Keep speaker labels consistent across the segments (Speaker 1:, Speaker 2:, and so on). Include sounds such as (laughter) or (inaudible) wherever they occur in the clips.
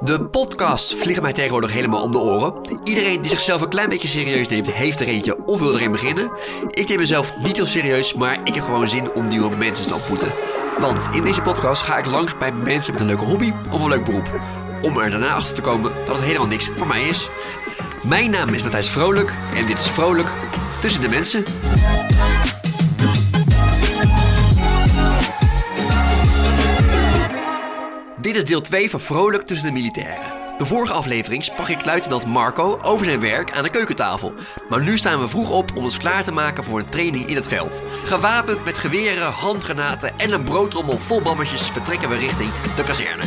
Speaker 1: De podcasts vliegen mij tegenwoordig helemaal om de oren. Iedereen die zichzelf een klein beetje serieus neemt, heeft er eentje of wil erin beginnen. Ik neem mezelf niet heel serieus, maar ik heb gewoon zin om nieuwe mensen te ontmoeten. Want in deze podcast ga ik langs bij mensen met een leuke hobby of een leuk beroep. Om er daarna achter te komen dat het helemaal niks voor mij is. Mijn naam is Matthijs Vrolijk en dit is Vrolijk tussen de mensen. Dit is deel 2 van Vrolijk tussen de militairen. De vorige aflevering sprak ik luitenant Marco over zijn werk aan de keukentafel. Maar nu staan we vroeg op om ons klaar te maken voor een training in het veld. Gewapend met geweren, handgranaten en een broodrommel vol bammetjes vertrekken we richting de kazerne.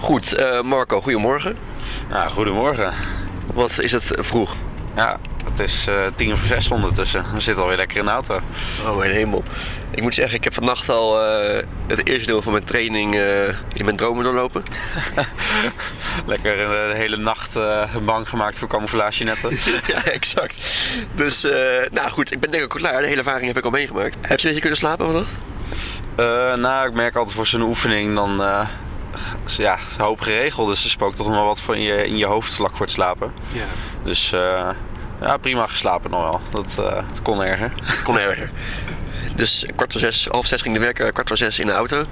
Speaker 1: Goed, eh, Marco, goedemorgen.
Speaker 2: Ja, goedemorgen.
Speaker 1: Wat is het vroeg?
Speaker 2: Ja, het is eh, tien voor zes ondertussen. We zitten alweer lekker in de auto.
Speaker 1: Oh, mijn hemel. Ik moet zeggen, ik heb vannacht al eh, het eerste deel van mijn training eh, in mijn dromen doorlopen.
Speaker 2: Lekker eh, de hele nacht eh, bang gemaakt voor camouflagenetten.
Speaker 1: (laughs) ja, exact. Dus, eh, nou goed, ik ben denk ik ook klaar. De hele ervaring heb ik al meegemaakt. Heb je een beetje kunnen slapen vannacht?
Speaker 2: Eh nou, ik merk altijd voor zo'n oefening dan... eh, ja, een hoop geregeld. Dus er spookt toch nog wel wat van je, in je hoofd vlak voor het slapen.
Speaker 1: Ja.
Speaker 2: Dus eh, ja, prima geslapen nog wel. Dat, eh, het kon erger. (laughs)
Speaker 1: Kon erger. Dus kwart voor zes, half zes ging de werken, kwart voor zes in de auto.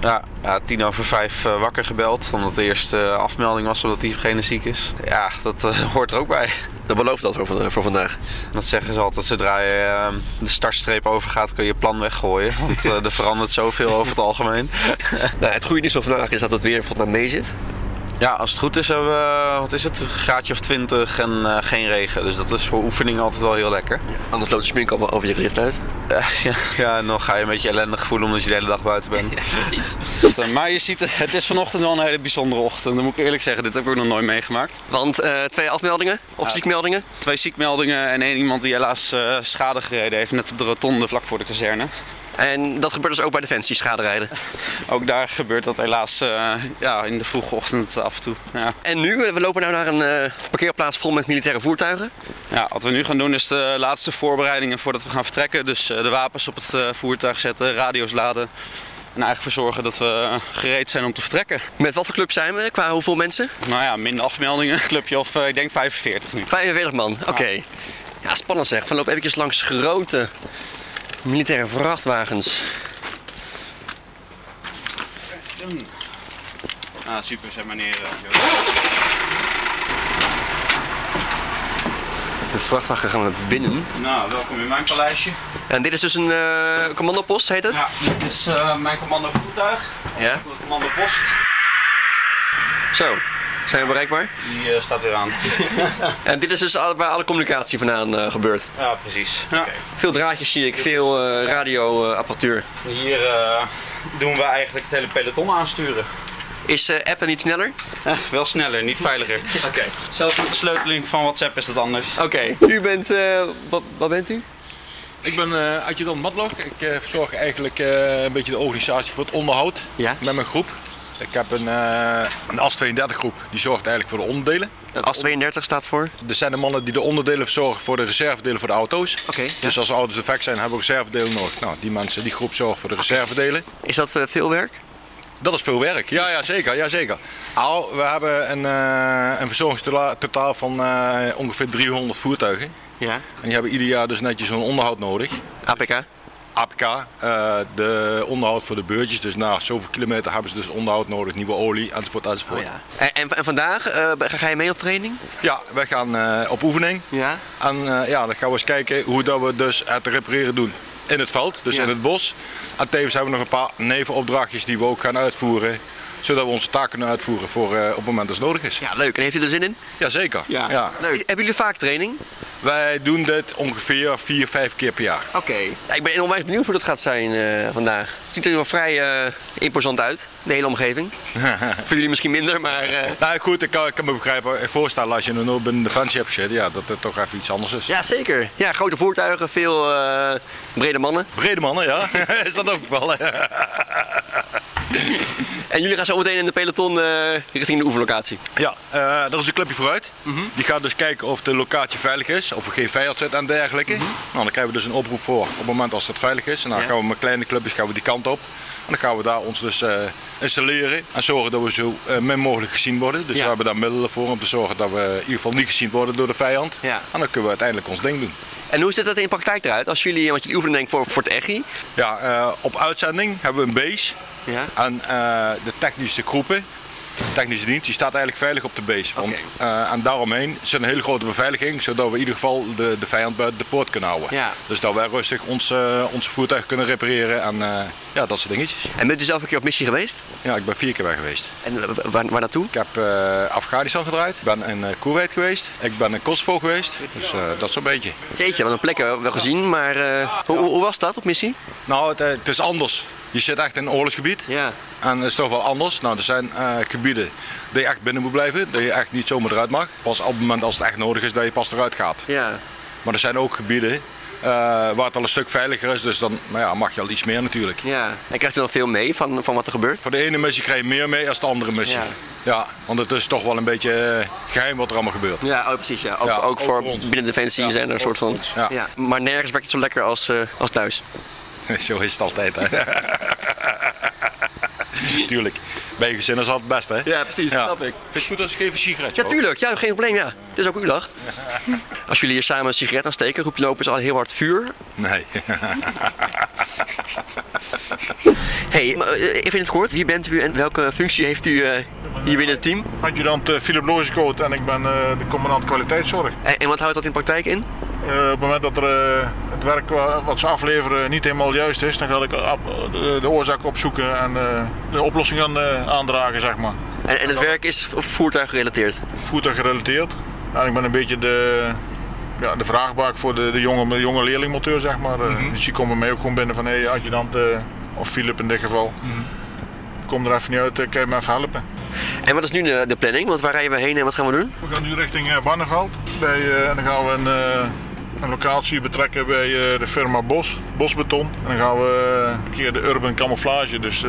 Speaker 2: Ja, ja, tien over vijf eh, wakker gebeld. Omdat de eerste eh, afmelding was omdat diegene ziek is. Ja, dat eh, hoort er ook bij.
Speaker 1: Dat belooft dat voor, van- voor vandaag.
Speaker 2: Dat zeggen ze altijd, zodra je eh, de startstreep overgaat, kun je je plan weggooien. Want eh, er verandert zoveel over het algemeen.
Speaker 1: Nou, het goede nieuws van vandaag is dat het weer volgens mij mee zit.
Speaker 2: (laughs) Ja, als het goed is hebben we, eh, wat is het, een graadje of 20 en eh, geen regen. Dus dat is voor oefeningen altijd wel heel lekker.
Speaker 1: Anders loopt de smink allemaal over je gezicht uit.
Speaker 2: Eh, (laughs) ja, ja, en dan ga je een beetje ellendig voelen omdat je de hele dag buiten (laughs) bent. Dat, eh, maar je ziet het, het is vanochtend wel een hele bijzondere ochtend. Dan moet ik eerlijk zeggen, dit heb ik ook nog nooit meegemaakt.
Speaker 1: Want eh, twee afmeldingen, of
Speaker 2: Ja.
Speaker 1: ziekmeldingen.
Speaker 2: Twee ziekmeldingen en één iemand die helaas eh, schade gereden heeft. Net op de rotonde vlak voor de kazerne.
Speaker 1: En dat gebeurt dus ook bij Defensie, schaderijden.
Speaker 2: Ook daar gebeurt dat helaas eh, ja, in de vroege ochtend af en toe. Ja.
Speaker 1: En nu, eh, we lopen nou naar een eh, parkeerplaats vol met militaire voertuigen.
Speaker 2: Ja, wat we nu gaan doen is de laatste voorbereidingen voordat we gaan vertrekken. Dus eh, de wapens op het eh, voertuig zetten, radio's laden. En eigenlijk voor zorgen dat we eh, gereed zijn om te vertrekken.
Speaker 1: Met wat voor club zijn we? Qua hoeveel mensen?
Speaker 2: Nou ja, minder afmeldingen. (laughs) Clubje of eh, ik denk 45 nu.
Speaker 1: 45 man, oké. Ja, spannend zeg. Van loop eventjes langs grote militaire vrachtwagens.
Speaker 2: Ah, super, zeg meneer.
Speaker 1: De vrachtwagen gaan we binnen.
Speaker 2: Nou, welkom in mijn paleisje.
Speaker 1: En dit is dus een eh commandopost, heet het?
Speaker 2: Ja, dit is eh, mijn commando voertuig.
Speaker 1: Ja.
Speaker 2: Of Commando post.
Speaker 1: Zo, zijn we bereikbaar.
Speaker 2: Die eh, staat weer aan.
Speaker 1: En dit is dus al- waar alle communicatie vandaan eh, gebeurt.
Speaker 2: ja, precies. Ja.
Speaker 1: Veel draadjes zie ik, veel eh, radioapparatuur.
Speaker 2: Hier eh, doen we eigenlijk het hele peloton aansturen.
Speaker 1: is eh appen niet sneller?
Speaker 2: Eh, wel sneller, niet veiliger. (laughs) Oké. Zelfs met de sleuteling van WhatsApp is dat anders.
Speaker 1: Oké, u bent, eh, wat, wat bent u?
Speaker 3: Ik ben eh adjudant Matlock. Ik eh, verzorg eigenlijk eh, een beetje de organisatie voor het onderhoud
Speaker 1: Ja.
Speaker 3: met mijn groep. Ik heb een, eh, een AS-32 groep, die zorgt eigenlijk voor de onderdelen.
Speaker 1: AS32 staat voor.
Speaker 3: Er zijn de mannen die de onderdelen verzorgen voor de reservedelen voor de auto's.
Speaker 1: Oké, ja.
Speaker 3: Dus als de auto's defect zijn, hebben we reservedelen nodig. Nou, die mensen, die groep zorgt voor de reservedelen.
Speaker 1: Is dat eh, veel werk?
Speaker 3: Dat is veel werk. Ja, ja zeker. Ja, zeker. Al, we hebben een, eh een verzorgingstotaal van eh, ongeveer 300 voertuigen.
Speaker 1: Ja. Oh
Speaker 3: En die hebben ieder jaar dus netjes zo'n onderhoud nodig.
Speaker 1: APK?
Speaker 3: APK, eh, de onderhoud voor de beurtjes. Dus na zoveel kilometer hebben ze dus onderhoud nodig, nieuwe olie enzovoort
Speaker 1: Oh
Speaker 3: enzovoort. ja.
Speaker 1: En, en, en vandaag, eh, ga je mee op training?
Speaker 3: wij gaan eh, op oefening.
Speaker 1: Ja.
Speaker 3: En eh, ja, dan gaan we eens kijken hoe dat we dus het repareren doen. in het veld, dus
Speaker 1: Ja.
Speaker 3: in het bos. En tevens hebben we nog een paar nevenopdrachtjes die we ook gaan uitvoeren. Zodat we onze taak kunnen uitvoeren voor, eh, op het moment dat het nodig is.
Speaker 1: Ja, leuk. En heeft u er zin in?
Speaker 3: Jazeker.
Speaker 2: Ja.
Speaker 1: Leuk. Hebben jullie vaak training?
Speaker 3: Wij doen dit ongeveer vier, vijf keer per jaar.
Speaker 1: Oké. ik ben onwijs benieuwd hoe dat gaat zijn eh, vandaag. Het ziet er wel vrij eh, imposant uit, de hele (laughs) omgeving. Voor jullie misschien minder, maar... eh,
Speaker 3: Nou goed, ik kan, ik kan me begrijpen, voorstellen als je in een binnen defensie hebt zit, ja, dat het toch even iets anders is.
Speaker 1: Ja, zeker. Ja, grote voertuigen, veel eh, brede mannen.
Speaker 3: Brede mannen, ja.
Speaker 1: (laughs)
Speaker 3: is dat opgevallen?
Speaker 1: En jullie gaan zo meteen in de peloton eh, richting de oefenlocatie.
Speaker 3: (laughs) Ja, eh er is een clubje vooruit. Die gaat dus kijken of de locatie veilig is, of er geen vijand zit en dergelijke. Nou, dan krijgen we dus een oproep voor op het moment als dat veilig is. En dan
Speaker 1: Ja.
Speaker 3: gaan we met kleine clubjes gaan we die kant op. En dan gaan we daar ons dus eh, installeren en zorgen dat we zo eh, min mogelijk gezien worden. Dus
Speaker 1: Ja.
Speaker 3: we hebben daar middelen voor om te zorgen dat we in ieder geval niet gezien worden door de vijand.
Speaker 1: Ja.
Speaker 3: En dan kunnen we uiteindelijk ons ding doen.
Speaker 1: En hoe ziet dat in de praktijk eruit? Als jullie, want jullie oefenen denk ik voor, voor het EGI.
Speaker 3: Ja, eh, op uitzending hebben we een base.
Speaker 1: Ja.
Speaker 3: En eh, de technische groepen, de technische dienst, die staat eigenlijk veilig op de base. Want, eh, en daaromheen zit een hele grote beveiliging, zodat we in ieder geval de, de vijand buiten de poort kunnen houden.
Speaker 1: Ja.
Speaker 3: Dus dat wij rustig ons, eh, onze voertuig kunnen repareren en eh, ja, dat soort dingetjes.
Speaker 1: En bent u zelf een keer op missie geweest?
Speaker 3: Ja, ik ben vier keer weg geweest.
Speaker 1: En eh, wa- waar, waar naartoe?
Speaker 3: Ik heb eh, Afghanistan gedraaid, ik ben in eh, Koeweit geweest, ik ben in Kosovo geweest. Dus eh, dat zo'n beetje.
Speaker 1: Jeetje, wat een plek eh, wel gezien, maar eh, hoe, hoe- hoe was dat op missie?
Speaker 3: Nou, het, eh, het is anders. Je zit echt in een oorlogsgebied.
Speaker 1: Ja.
Speaker 3: En dat is toch wel anders. Nou, er zijn eh, gebieden die je echt binnen moet blijven, dat je echt niet zomaar eruit mag. Pas op het moment als het echt nodig is, dat je pas eruit gaat.
Speaker 1: Ja.
Speaker 3: Maar er zijn ook gebieden eh, waar het al een stuk veiliger is, dus dan maar ja, mag je al iets meer natuurlijk.
Speaker 1: ja. En krijgt u dan veel mee van, van wat er gebeurt?
Speaker 3: Voor de ene missie krijg je meer mee als de andere missie.
Speaker 1: Ja.
Speaker 3: Ja, want het is toch wel een beetje eh, geheim wat er allemaal gebeurt. (laughs)
Speaker 1: Ja, oh, precies. Ja. Ook,
Speaker 3: Ja,
Speaker 1: ook
Speaker 3: ook
Speaker 1: voor
Speaker 3: voor ons.
Speaker 1: binnen Defensie
Speaker 3: Ja,
Speaker 1: zijn er een
Speaker 3: ook
Speaker 1: soort van...
Speaker 3: voor ons, ja.
Speaker 1: Maar nergens werkt het zo lekker als, eh, als thuis.
Speaker 3: Zo is het altijd. Hè? (laughs) Tuurlijk. Bij je gezin is dat het beste, hè?
Speaker 1: precies. Snap ik.
Speaker 3: Vind je het goed als ik even een sigaretje
Speaker 1: Ja, tuurlijk. Ja, geen probleem. Ja. Het is ook uw (laughs) dag. Als jullie hier samen een sigaret aansteken, roep je lopen is al heel hard vuur.
Speaker 3: Nee.
Speaker 1: hey, maar, eh, even in het kort. Wie bent u en welke functie heeft u eh, hier binnen het team?
Speaker 4: Adjudant eh, Philip Looskoot en ik ben eh, de commandant kwaliteitszorg.
Speaker 1: En, en wat houdt dat in praktijk in?
Speaker 4: Eh, op het moment dat er, eh, het werk wa- wat ze afleveren niet helemaal juist is, dan ga ik eh, ap- de, de oorzaak opzoeken en eh, de oplossing aan, eh, aandragen, zeg maar.
Speaker 1: En, en het werk is v- voertuiggerelateerd.
Speaker 4: Voertuig gerelateerd. En ik ben een beetje de, ja, de vraagbaak voor de, de jonge, de jonge leerlingmonteur, zeg maar. Eh, Dus die komen mij ook gewoon binnen van, hé, hey, adjudant, eh, of Philip in dit geval. Kom er even niet uit, eh, kan je me even helpen?
Speaker 1: En wat is nu de, de planning? Want waar rijden we heen en wat gaan we doen?
Speaker 4: We gaan nu richting eh, Barneveld. Bij, eh, en dan gaan we een, eh, een locatie betrekken bij eh, de firma Bos, Bosbeton. En dan gaan we eh, een keer de urban camouflage, dus eh,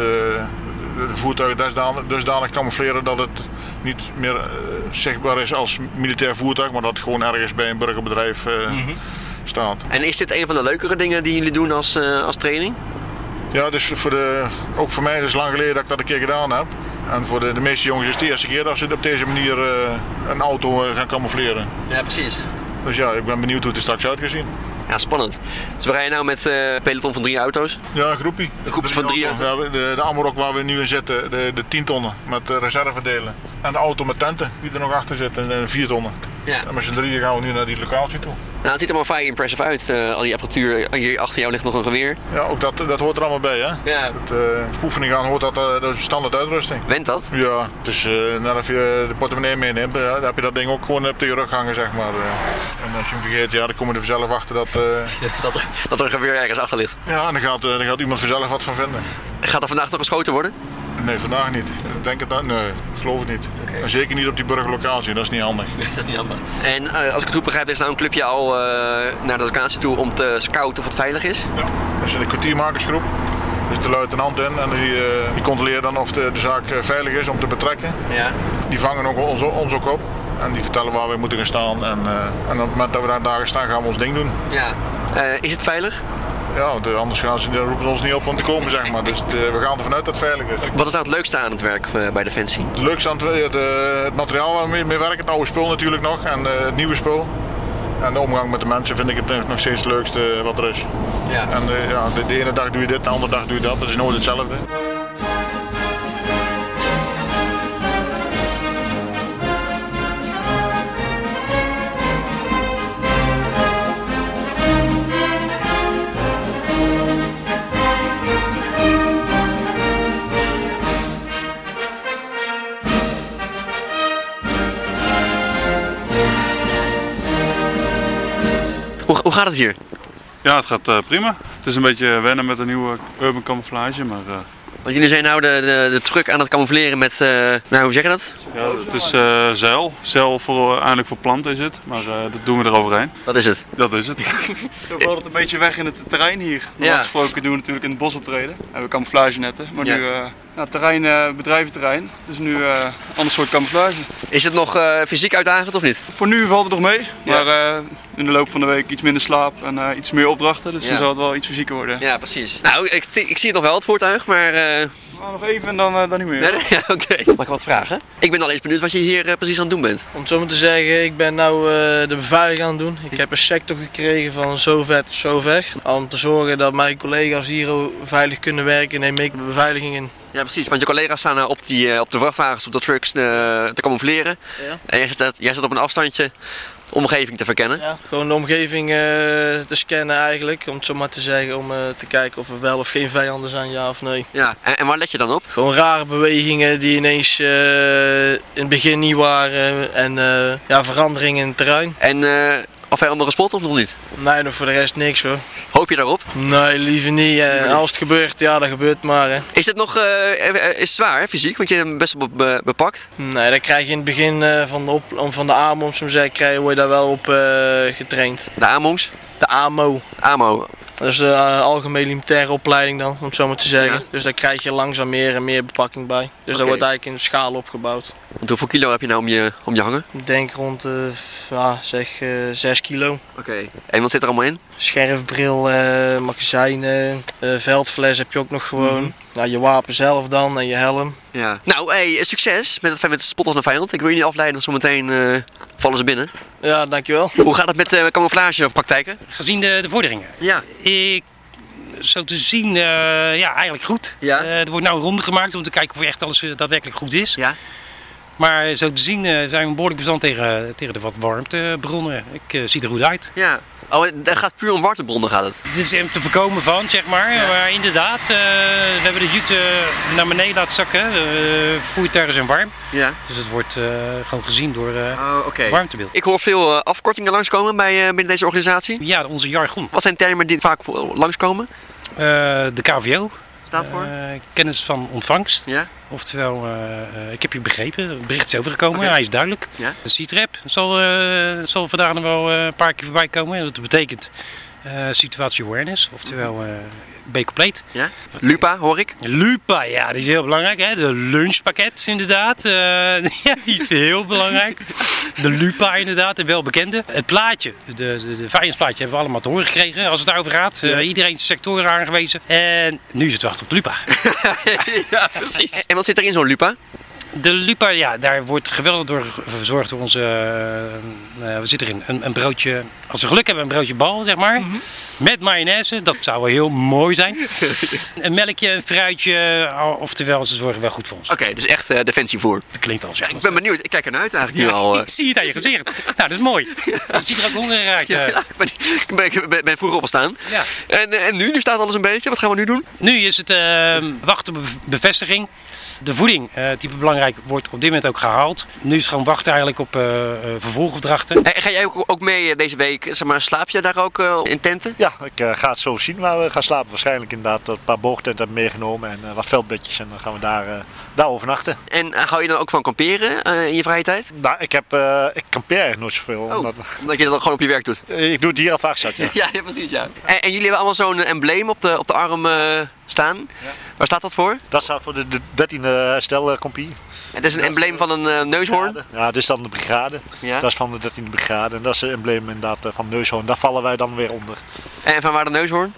Speaker 4: de voertuigen dusdanig, dusdanig camoufleren dat het niet meer eh, zichtbaar is als militair voertuig, maar dat het gewoon ergens bij een burgerbedrijf eh, staat.
Speaker 1: En is dit een van de leukere dingen die jullie doen als, eh, als training?
Speaker 4: Ja, dus voor de, ook voor mij is het lang geleden dat ik dat een keer gedaan heb. En voor de, de meeste jongens is het de eerste keer dat ze op deze manier eh, een auto eh, gaan camoufleren.
Speaker 1: Ja, precies.
Speaker 4: Dus ja, ik ben benieuwd hoe het er straks uit gaat zien.
Speaker 1: Ja, spannend. Dus we rijden nou met eh, een peloton van drie auto's.
Speaker 4: Ja, een groepie. Een
Speaker 1: groepje van drie auto's.
Speaker 4: Ja, de, de Amarok waar we nu in zitten, de, de 10 tonnen met eh, reservedelen. En de auto met tenten die er nog achter zit, en de 4 tonnen.
Speaker 1: Ja.
Speaker 4: En met z'n drieën gaan we nu naar die locatie toe.
Speaker 1: Nou, het ziet er maar vrij impressive uit, eh, al die apparatuur. Hier achter jou ligt nog een geweer.
Speaker 4: Ja, ook dat, dat hoort er allemaal bij, hè?
Speaker 1: Ja.
Speaker 4: Het eh, oefening aan hoort dat, eh, dat is standaard uitrusting.
Speaker 1: Went dat?
Speaker 4: Ja, dus eh net of je de portemonnee meeneemt, eh, dan heb je dat ding ook gewoon op de rug hangen, zeg maar. eh. En als je hem vergeet, ja, dan kom je er vanzelf achter dat...
Speaker 1: (laughs)
Speaker 4: eh,
Speaker 1: Dat er, dat er een geweer ergens achter ligt.
Speaker 4: ja, en dan gaat, eh, dan gaat iemand vanzelf wat van vinden.
Speaker 1: Gaat er vandaag nog geschoten worden?
Speaker 4: Nee, vandaag niet. Ik denk het, nee, ik geloof het niet. En zeker niet op die burgerlocatie, dat is niet handig.
Speaker 1: Dat is niet handig. En eh, als ik het goed begrijp, is nou een clubje al eh, naar de locatie toe om te scouten of het veilig is.
Speaker 4: Ja. Dat is de kwartiermakersgroep. Er zit de luitenant in en die, eh, die controleert dan of de, de zaak eh, veilig is om te betrekken.
Speaker 1: Ja.
Speaker 4: Die vangen ook ons, ons ook op en die vertellen waar we moeten gaan staan. En, eh, en op het moment dat we daar dagen staan, gaan we ons ding doen.
Speaker 1: ja. Eh, is het veilig?
Speaker 4: Ja, want eh, anders gaan ze, dan roepen ze ons niet op om te komen, zeg maar. Dus het, eh, we gaan ervan uit dat het veilig is.
Speaker 1: Wat is nou het leukste aan het werk eh, bij Defensie?
Speaker 4: Het leukste aan het, het, eh, het materiaal waar we mee- mee werken, het oude spul natuurlijk nog en eh, het nieuwe spul. En de omgang met de mensen vind ik het nog steeds het leukste eh, wat er is.
Speaker 1: Ja.
Speaker 4: En eh, ja, de, de ene dag doe je dit, de andere dag doe je dat. Dat is nooit hetzelfde.
Speaker 1: gaat het hier?
Speaker 2: Ja, het gaat eh, prima. Het is een beetje wennen met een nieuwe urban camouflage, maar eh,
Speaker 1: Want jullie zijn nou de, de, de truck aan het camoufleren met, eh, nou hoe zeg je dat?
Speaker 2: ja, het is eh, zeil. Zeil voor, eigenlijk voor planten is het, maar eh, dat doen we eroverheen.
Speaker 1: Dat is het.
Speaker 2: Dat (laughs) is het.
Speaker 5: Zo valt het een beetje weg in het terrein hier. Normaal
Speaker 1: Ja.
Speaker 5: gesproken doen we natuurlijk in het bos optreden. We hebben camouflage netten. Maar
Speaker 1: Ja.
Speaker 5: nu, eh ja, terrein, eh, bedrijventerrein. Dus nu eh, een ander soort camouflage.
Speaker 1: Is het nog eh, fysiek uitdagend of niet?
Speaker 5: Voor nu valt het nog mee.
Speaker 1: Ja.
Speaker 5: Maar eh, in de loop van de week iets minder slaap en eh, iets meer opdrachten. Dus
Speaker 1: Ja.
Speaker 5: dan zal het wel iets fysieker worden.
Speaker 1: Ja, precies. Nou, ik, zie- ik zie het nog wel, het voertuig, maar... eh,
Speaker 5: Maar nog even en dan, eh, dan niet meer.
Speaker 1: Nee, (laughs) nee? Ja, oké. Mag ik wat vragen? Ik ben al eens benieuwd wat je hier eh, precies aan het doen bent.
Speaker 6: Om het zo maar te zeggen, ik ben nou eh, de beveiliging aan het doen. Ik heb een sector gekregen van zo ver tot zo ver. Om te zorgen dat mijn collega's hier ook veilig kunnen werken, neem ik de beveiliging in.
Speaker 1: Ja, precies. Want je collega's staan nou op, die, eh, op de vrachtwagens, op de trucks eh, te camoufleren.
Speaker 6: Ja.
Speaker 1: En jij zit, uit- jij zit op een afstandje de omgeving te verkennen.
Speaker 6: Gewoon de omgeving eh, te scannen eigenlijk, om het zo maar te zeggen. Om eh, te kijken of er wel of geen vijanden zijn, ja of nee.
Speaker 1: Ja. En, en waar let je dan op?
Speaker 6: Gewoon rare bewegingen die ineens eh, in het begin niet waren. En eh, ja, veranderingen in het terrein.
Speaker 1: En eh of hij andere spot of nog niet?
Speaker 6: Nee, nog voor de rest niks hoor.
Speaker 1: Hoop je daarop?
Speaker 6: Nee, liever niet. En als het gebeurt, ja, dat gebeurt maar hè.
Speaker 1: Is dit nog eh, eh, eh, is het zwaar, hè, fysiek? Want je hebt hem best wel be- be- bepakt.
Speaker 6: Nee, dat krijg je in het begin eh, van, de op, om- van de AMO, om zo te zeggen, krijg je, word je daar wel op eh, getraind.
Speaker 1: De AMO's.
Speaker 6: De AMO,
Speaker 1: AMO.
Speaker 6: dat is de eh, algemene militaire opleiding dan, om het zo maar te zeggen.
Speaker 1: Ja.
Speaker 6: Dus daar krijg je langzaam meer en meer bepakking bij. Dus
Speaker 1: Oké.
Speaker 6: dat wordt eigenlijk in schalen opgebouwd.
Speaker 1: Want hoeveel kilo heb je nou om je, om je hangen?
Speaker 6: Ik denk rond, eh, f- ja, zeg, eh 6 kilo.
Speaker 1: Oké. En wat zit er allemaal in?
Speaker 6: Scherfbril, eh, magazijnen, eh, veldfles heb je ook nog gewoon.
Speaker 7: Mhm.
Speaker 6: Nou, je wapen zelf dan en je helm.
Speaker 1: Ja. Nou, hey, succes met het, met het spotten van de vijand. Ik wil je niet afleiden, want zometeen eh, vallen ze binnen.
Speaker 6: Ja, dankjewel.
Speaker 1: Hoe gaat het met eh camouflage of praktijken?
Speaker 7: Gezien de, de vorderingen.
Speaker 1: Ja.
Speaker 7: Ik, zo te zien, eh, ja, eigenlijk goed.
Speaker 1: Ja.
Speaker 7: Eh, er wordt nou een ronde gemaakt om te kijken of echt alles eh, daadwerkelijk goed is.
Speaker 1: Ja.
Speaker 7: Maar zo te zien eh, zijn we behoorlijk bestand tegen, tegen de wat warmtebronnen. Ik eh, zie er goed uit.
Speaker 1: Ja. Oh, het gaat puur om warmtebronnen gaat het.
Speaker 7: Het is hem te voorkomen van, zeg maar. Maar inderdaad, eh, we hebben de jute naar beneden laten zakken. Eh voertuigen zijn warm.
Speaker 1: Ja.
Speaker 7: Dus het wordt eh, gewoon gezien door eh,
Speaker 1: Oh, oké.
Speaker 7: warmtebeeld.
Speaker 1: Ik hoor veel eh, afkortingen langskomen bij, eh, binnen deze organisatie.
Speaker 7: Ja, onze jargon.
Speaker 1: Wat zijn termen die vaak voor- langskomen?
Speaker 7: Eh, de KVO,
Speaker 1: Staat voor?
Speaker 7: eh, kennis van ontvangst.
Speaker 1: ja.
Speaker 7: Oftewel, eh, eh, ik heb je begrepen, het bericht is overgekomen,
Speaker 1: Oké.
Speaker 7: hij is duidelijk.
Speaker 1: Ja.
Speaker 7: De C-trap zal, eh, zal vandaag nog wel eh, een paar keer voorbij komen. En Dat betekent eh, situatie awareness, oftewel eh ben je compleet.
Speaker 1: Lupa hoor ik.
Speaker 7: Lupa, ja, die is heel belangrijk. Hè? De lunchpakket inderdaad, eh, (laughs) ja, die is heel belangrijk. De Lupa inderdaad, de welbekende. Het plaatje, de, de, de vijandsplaatje hebben we allemaal te horen gekregen als het daarover gaat. Eh, iedereen is sectoren aangewezen. En nu is het wachten op de Lupa.
Speaker 1: ja, precies. En wat zit er in zo'n Lupa?
Speaker 7: De Lupa, ja, daar wordt geweldig door ge- verzorgd door onze. eh, eh, wat zit erin? Een, een broodje. Als we geluk hebben, een broodje bal, zeg maar.
Speaker 1: Mhm.
Speaker 7: Met mayonaise, dat zou wel heel mooi zijn.
Speaker 1: (laughs)
Speaker 7: een melkje, een fruitje, al- oftewel, ze zorgen wel goed voor ons.
Speaker 1: Oké, dus echt eh, defensievoer.
Speaker 7: Dat klinkt al zeg
Speaker 1: Ik
Speaker 7: maar.
Speaker 1: ben benieuwd. Ik kijk ernaar uit eigenlijk nu al. eh.
Speaker 7: Ik zie het aan je
Speaker 1: (laughs)
Speaker 7: gezicht. nou, dat is mooi. Je ziet er ook hongerig uit. eh.
Speaker 1: Ja, ik ben, (laughs) ik ben, ik ben- ben vroeg opgestaan.
Speaker 7: Ja.
Speaker 1: En, eh, en nu? Nu staat alles een beetje. Wat gaan we nu doen?
Speaker 7: Nu is het eh, wachten op bev- bevestiging. De voeding, eh type belangrijk, wordt op dit moment ook gehaald. Nu is het gewoon wachten eigenlijk op eh, eh, vervolgopdrachten.
Speaker 1: Eh, ga jij ook, ook mee eh, deze week? Zeg maar, slaap je daar ook eh, in tenten?
Speaker 4: Ja, ik eh, ga het zo zien waar we gaan slapen. Waarschijnlijk inderdaad dat een paar boogtenten hebben meegenomen en eh, wat veldbedjes. En dan gaan we daar, eh, daar overnachten.
Speaker 1: En eh, hou je dan ook van kamperen eh, in je vrije tijd?
Speaker 4: Nou, ik, heb, eh, ik kampeer eigenlijk nooit zoveel.
Speaker 1: Oh,
Speaker 4: Omdat,
Speaker 1: omdat je dat gewoon op je werk doet.
Speaker 4: Eh, ik doe het hier al vaak zat, ja.
Speaker 1: (laughs) Ja, ja, precies, ja. En, en jullie hebben allemaal zo'n eh, embleem op de, op de arm eh, staan. Waar staat dat voor?
Speaker 4: Dat staat voor de, de eh, 13e herstelcompie.
Speaker 1: Het is een embleem van een eh, neushoorn.
Speaker 4: Ja, dit is dan de brigade.
Speaker 1: Ja.
Speaker 4: Dat is van de 13e brigade. En dat is het embleem inderdaad eh, van Neushoorn. Daar vallen wij dan weer onder.
Speaker 1: En van waar de neushoorn?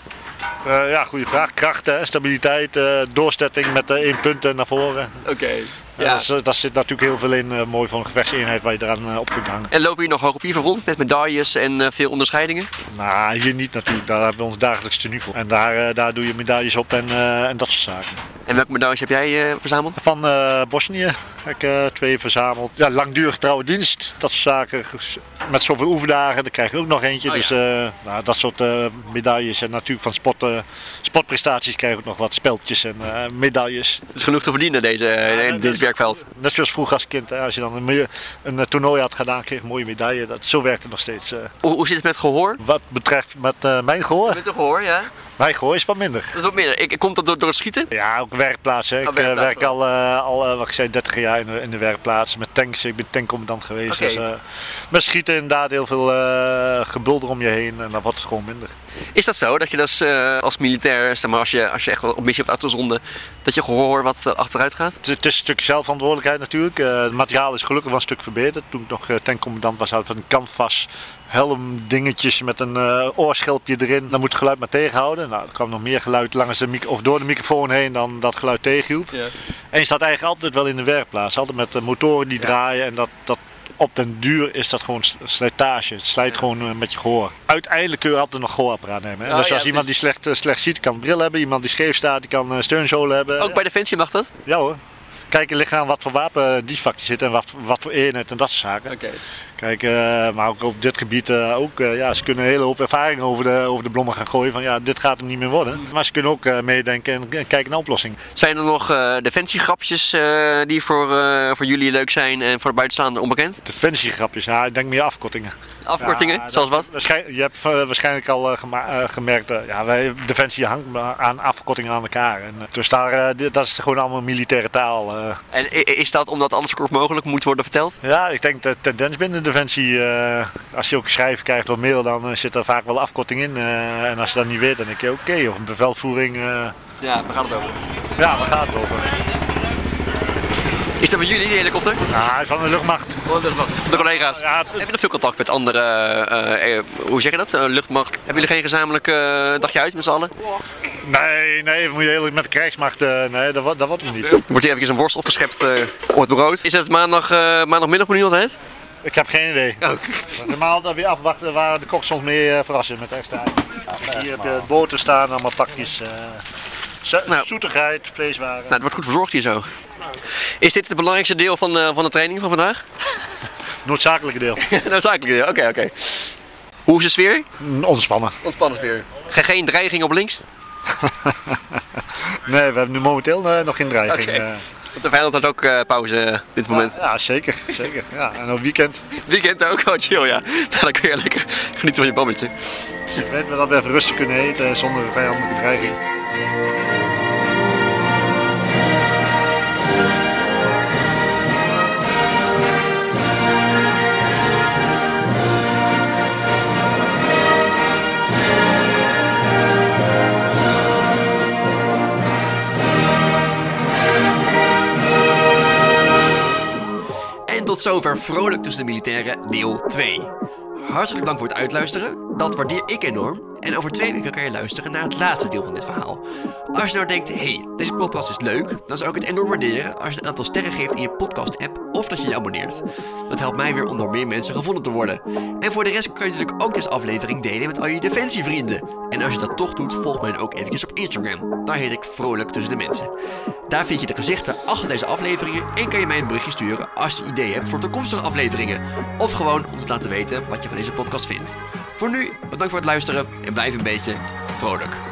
Speaker 4: Eh, ja, goede vraag. Krachten, hè, stabiliteit, eh, doorzetting met eh één punt eh, naar voren.
Speaker 1: Oké.
Speaker 4: Ja. dat, is, eh, daar zit natuurlijk heel veel in. eh, mooi voor een gevechtseenheid waar je eraan eh, op kunt hangen.
Speaker 1: En lopen jullie nog hoog op hier rond met medailles en eh, veel onderscheidingen?
Speaker 4: Nou, hier niet natuurlijk. Daar hebben we ons dagelijks tenue voor. En daar, eh, daar doe je medailles op en, eh, en dat soort zaken.
Speaker 1: En welke medailles heb jij eh, verzameld?
Speaker 4: Van eh, Bosnië heb ik eh, twee verzameld. Ja, langdurig trouwe dienst. Dat soort zaken. Met zoveel oefendagen, daar krijg je ook nog eentje.
Speaker 1: Oh, ja.
Speaker 4: dus eh, nou, dat soort eh, medailles. En natuurlijk van sport, eh, sportprestaties krijg ik ook nog wat speltjes en eh, medailles.
Speaker 1: Het is genoeg te verdienen deze, eh, dit werkveld.
Speaker 7: Net zoals vroeger als kind, hè, als je dan een, meer- een eh, toernooi had gedaan, kreeg je een mooie medaille. Dat, zo werkt het nog steeds. eh.
Speaker 1: Hoe, hoe zit het met gehoor?
Speaker 7: Wat betreft met, eh, mijn gehoor,
Speaker 1: Met het gehoor, ja.
Speaker 7: mijn gehoor is wat minder.
Speaker 1: Dat is wat minder. Ik, komt dat door, door het schieten?
Speaker 7: Ja, ook werkplaats. Hè. Ik
Speaker 1: Oh, werkplaats,
Speaker 7: eh, werk al, eh, al eh, wat ik zei, 30 jaar in, de- in de werkplaats met tanks. Ik ben tankcommandant geweest.
Speaker 1: Oké.
Speaker 7: Dus, eh, maar schieten inderdaad heel veel eh, gebulder om je heen en dan wordt het gewoon minder.
Speaker 1: Is dat zo? Dat je dus, eh, als militair, zeg maar, als je, als je echt wel op missie hebt uitgezonden, dat je gehoor wat eh, achteruit gaat?
Speaker 7: Het, het is een stuk zelfverantwoordelijkheid natuurlijk. Eh, het materiaal is gelukkig wel een stuk verbeterd. Toen ik nog eh, tankcommandant was, hadden we een canvas helm dingetjes met een eh, oorschelpje erin. Dan moet het geluid maar tegenhouden. Nou, er kwam nog meer geluid langs de mic- of door de microfoon heen dan dat geluid tegenhield. En je staat eigenlijk altijd wel in de werkplaats. Altijd met eh, motoren die draaien en dat, dat op den duur is dat gewoon s- slijtage. Het slijt gewoon eh, met je gehoor. Uiteindelijk kun je altijd nog gehoorapparaat nemen. Hè?
Speaker 1: Ja,
Speaker 7: dus
Speaker 1: ja,
Speaker 7: als iemand die
Speaker 1: precies.
Speaker 7: slecht, eh, slecht ziet kan een bril hebben. Iemand die scheef staat, die kan eh, steunzolen hebben.
Speaker 1: Ook bij Defensie mag dat?
Speaker 7: Ja hoor. Kijken ligt aan wat voor wapen die vakje zit en wat, wat voor eenheid en dat soort zaken.
Speaker 1: Oké.
Speaker 7: Kijk, eh, maar ook op dit gebied eh, ook, eh, ja, ze kunnen een hele hoop ervaring over de, over de blommen gaan gooien. Van ja, dit gaat hem niet meer
Speaker 1: Mm.
Speaker 7: worden. Maar ze kunnen ook eh, meedenken en, en kijken naar oplossingen.
Speaker 1: Zijn er nog eh defensiegrapjes eh, die voor, eh, voor jullie leuk zijn en voor de buitenstaander onbekend?
Speaker 7: Defensiegrapjes, nou, ik denk meer afkortingen.
Speaker 1: Afkortingen,
Speaker 7: Ja, dat-
Speaker 1: zoals wat?
Speaker 7: waarschijn- je hebt eh, waarschijnlijk al eh, gema- eh, gemerkt, eh, ja, wij, Defensie hangt maar aan afkortingen aan elkaar. En, eh, dus daar, eh, dit- dat is gewoon allemaal militaire taal. eh.
Speaker 1: En i- i- is dat omdat alles zo kort mogelijk moet worden verteld?
Speaker 7: Ja, ik denk de tendens binnen Defensie, eh, als je ook schrijven krijgt op mail, dan eh, zit er vaak wel afkorting in. eh, en als je dat niet weet, dan denk je oké, of een bevelvoering. eh,
Speaker 1: Ja, we gaan het over.
Speaker 7: ja, waar gaat het over?
Speaker 1: Is dat bij jullie, die helikopter?
Speaker 7: Ah, hij is van de luchtmacht.
Speaker 1: De collega's.
Speaker 7: Ja, het-
Speaker 1: Heb je nog veel contact met andere, eh, eh, hoe zeg je dat, Eh, luchtmacht? Hebben jullie geen gezamenlijk eh, dagje uit met z'n allen?
Speaker 7: Nee, nee, moet je eerlijk met de krijgsmacht. eh, nee, dat, wordt- dat wordt hem niet.
Speaker 1: Wordt hier even een worst opgeschept eh, op het brood? Is het maandag, eh, maandagmiddag benieuwd altijd?
Speaker 7: Ik heb geen idee. Maar Normaal dat weer afwachten waar de kok soms mee eh, verrassen met extra. Hier heb je boter staan, allemaal pakjes. eh, zo-
Speaker 1: Nou.
Speaker 7: Zoetigheid, vleeswaren.
Speaker 1: Nou, het wordt goed verzorgd hier zo. Is dit het belangrijkste deel van, eh, van de training van vandaag? (laughs)
Speaker 7: Noodzakelijke deel.
Speaker 1: Noodzakelijk deel, oké, oké. Hoe is de sfeer?
Speaker 7: Hm, Ontspannen.
Speaker 1: Ontspannen sfeer. Ge- Geen dreiging op links?
Speaker 7: Nee, we hebben nu momenteel eh, nog geen dreiging.
Speaker 1: Oké.
Speaker 7: eh.
Speaker 1: Want de vijand had ook eh, pauze eh, op dit moment.
Speaker 7: Ja, zeker. zeker. Ja, en op weekend
Speaker 1: Weekend ook, oh chill ja. (laughs) Nou, dan kun je lekker genieten van je bammetje.
Speaker 7: weten we dat we even rustig kunnen eten eh, zonder vijandelijke dreiging.
Speaker 1: En tot zover Vrolijk tussen de Militairen, deel 2. Hartelijk dank voor het uitluisteren. Dat waardeer ik enorm. En over twee weken kan je luisteren naar het laatste deel van dit verhaal. Als je nou denkt, hey, deze podcast is leuk, dan zou ik het enorm waarderen als je een aantal sterren geeft in je podcast-app of dat je je abonneert. Dat helpt mij weer om door meer mensen gevonden te worden. En voor de rest kan je natuurlijk ook deze aflevering delen met al je defensievrienden. En als je dat toch doet, volg mij dan ook eventjes op Instagram. Daar heet ik Vrolijk Tussen de Mensen. Daar vind je de gezichten achter deze afleveringen en kan je mij een berichtje sturen als je ideeën hebt voor toekomstige afleveringen. Of gewoon om te laten weten wat je van deze podcast vindt. Voor nu, bedankt voor het luisteren en blijf een beetje vrolijk.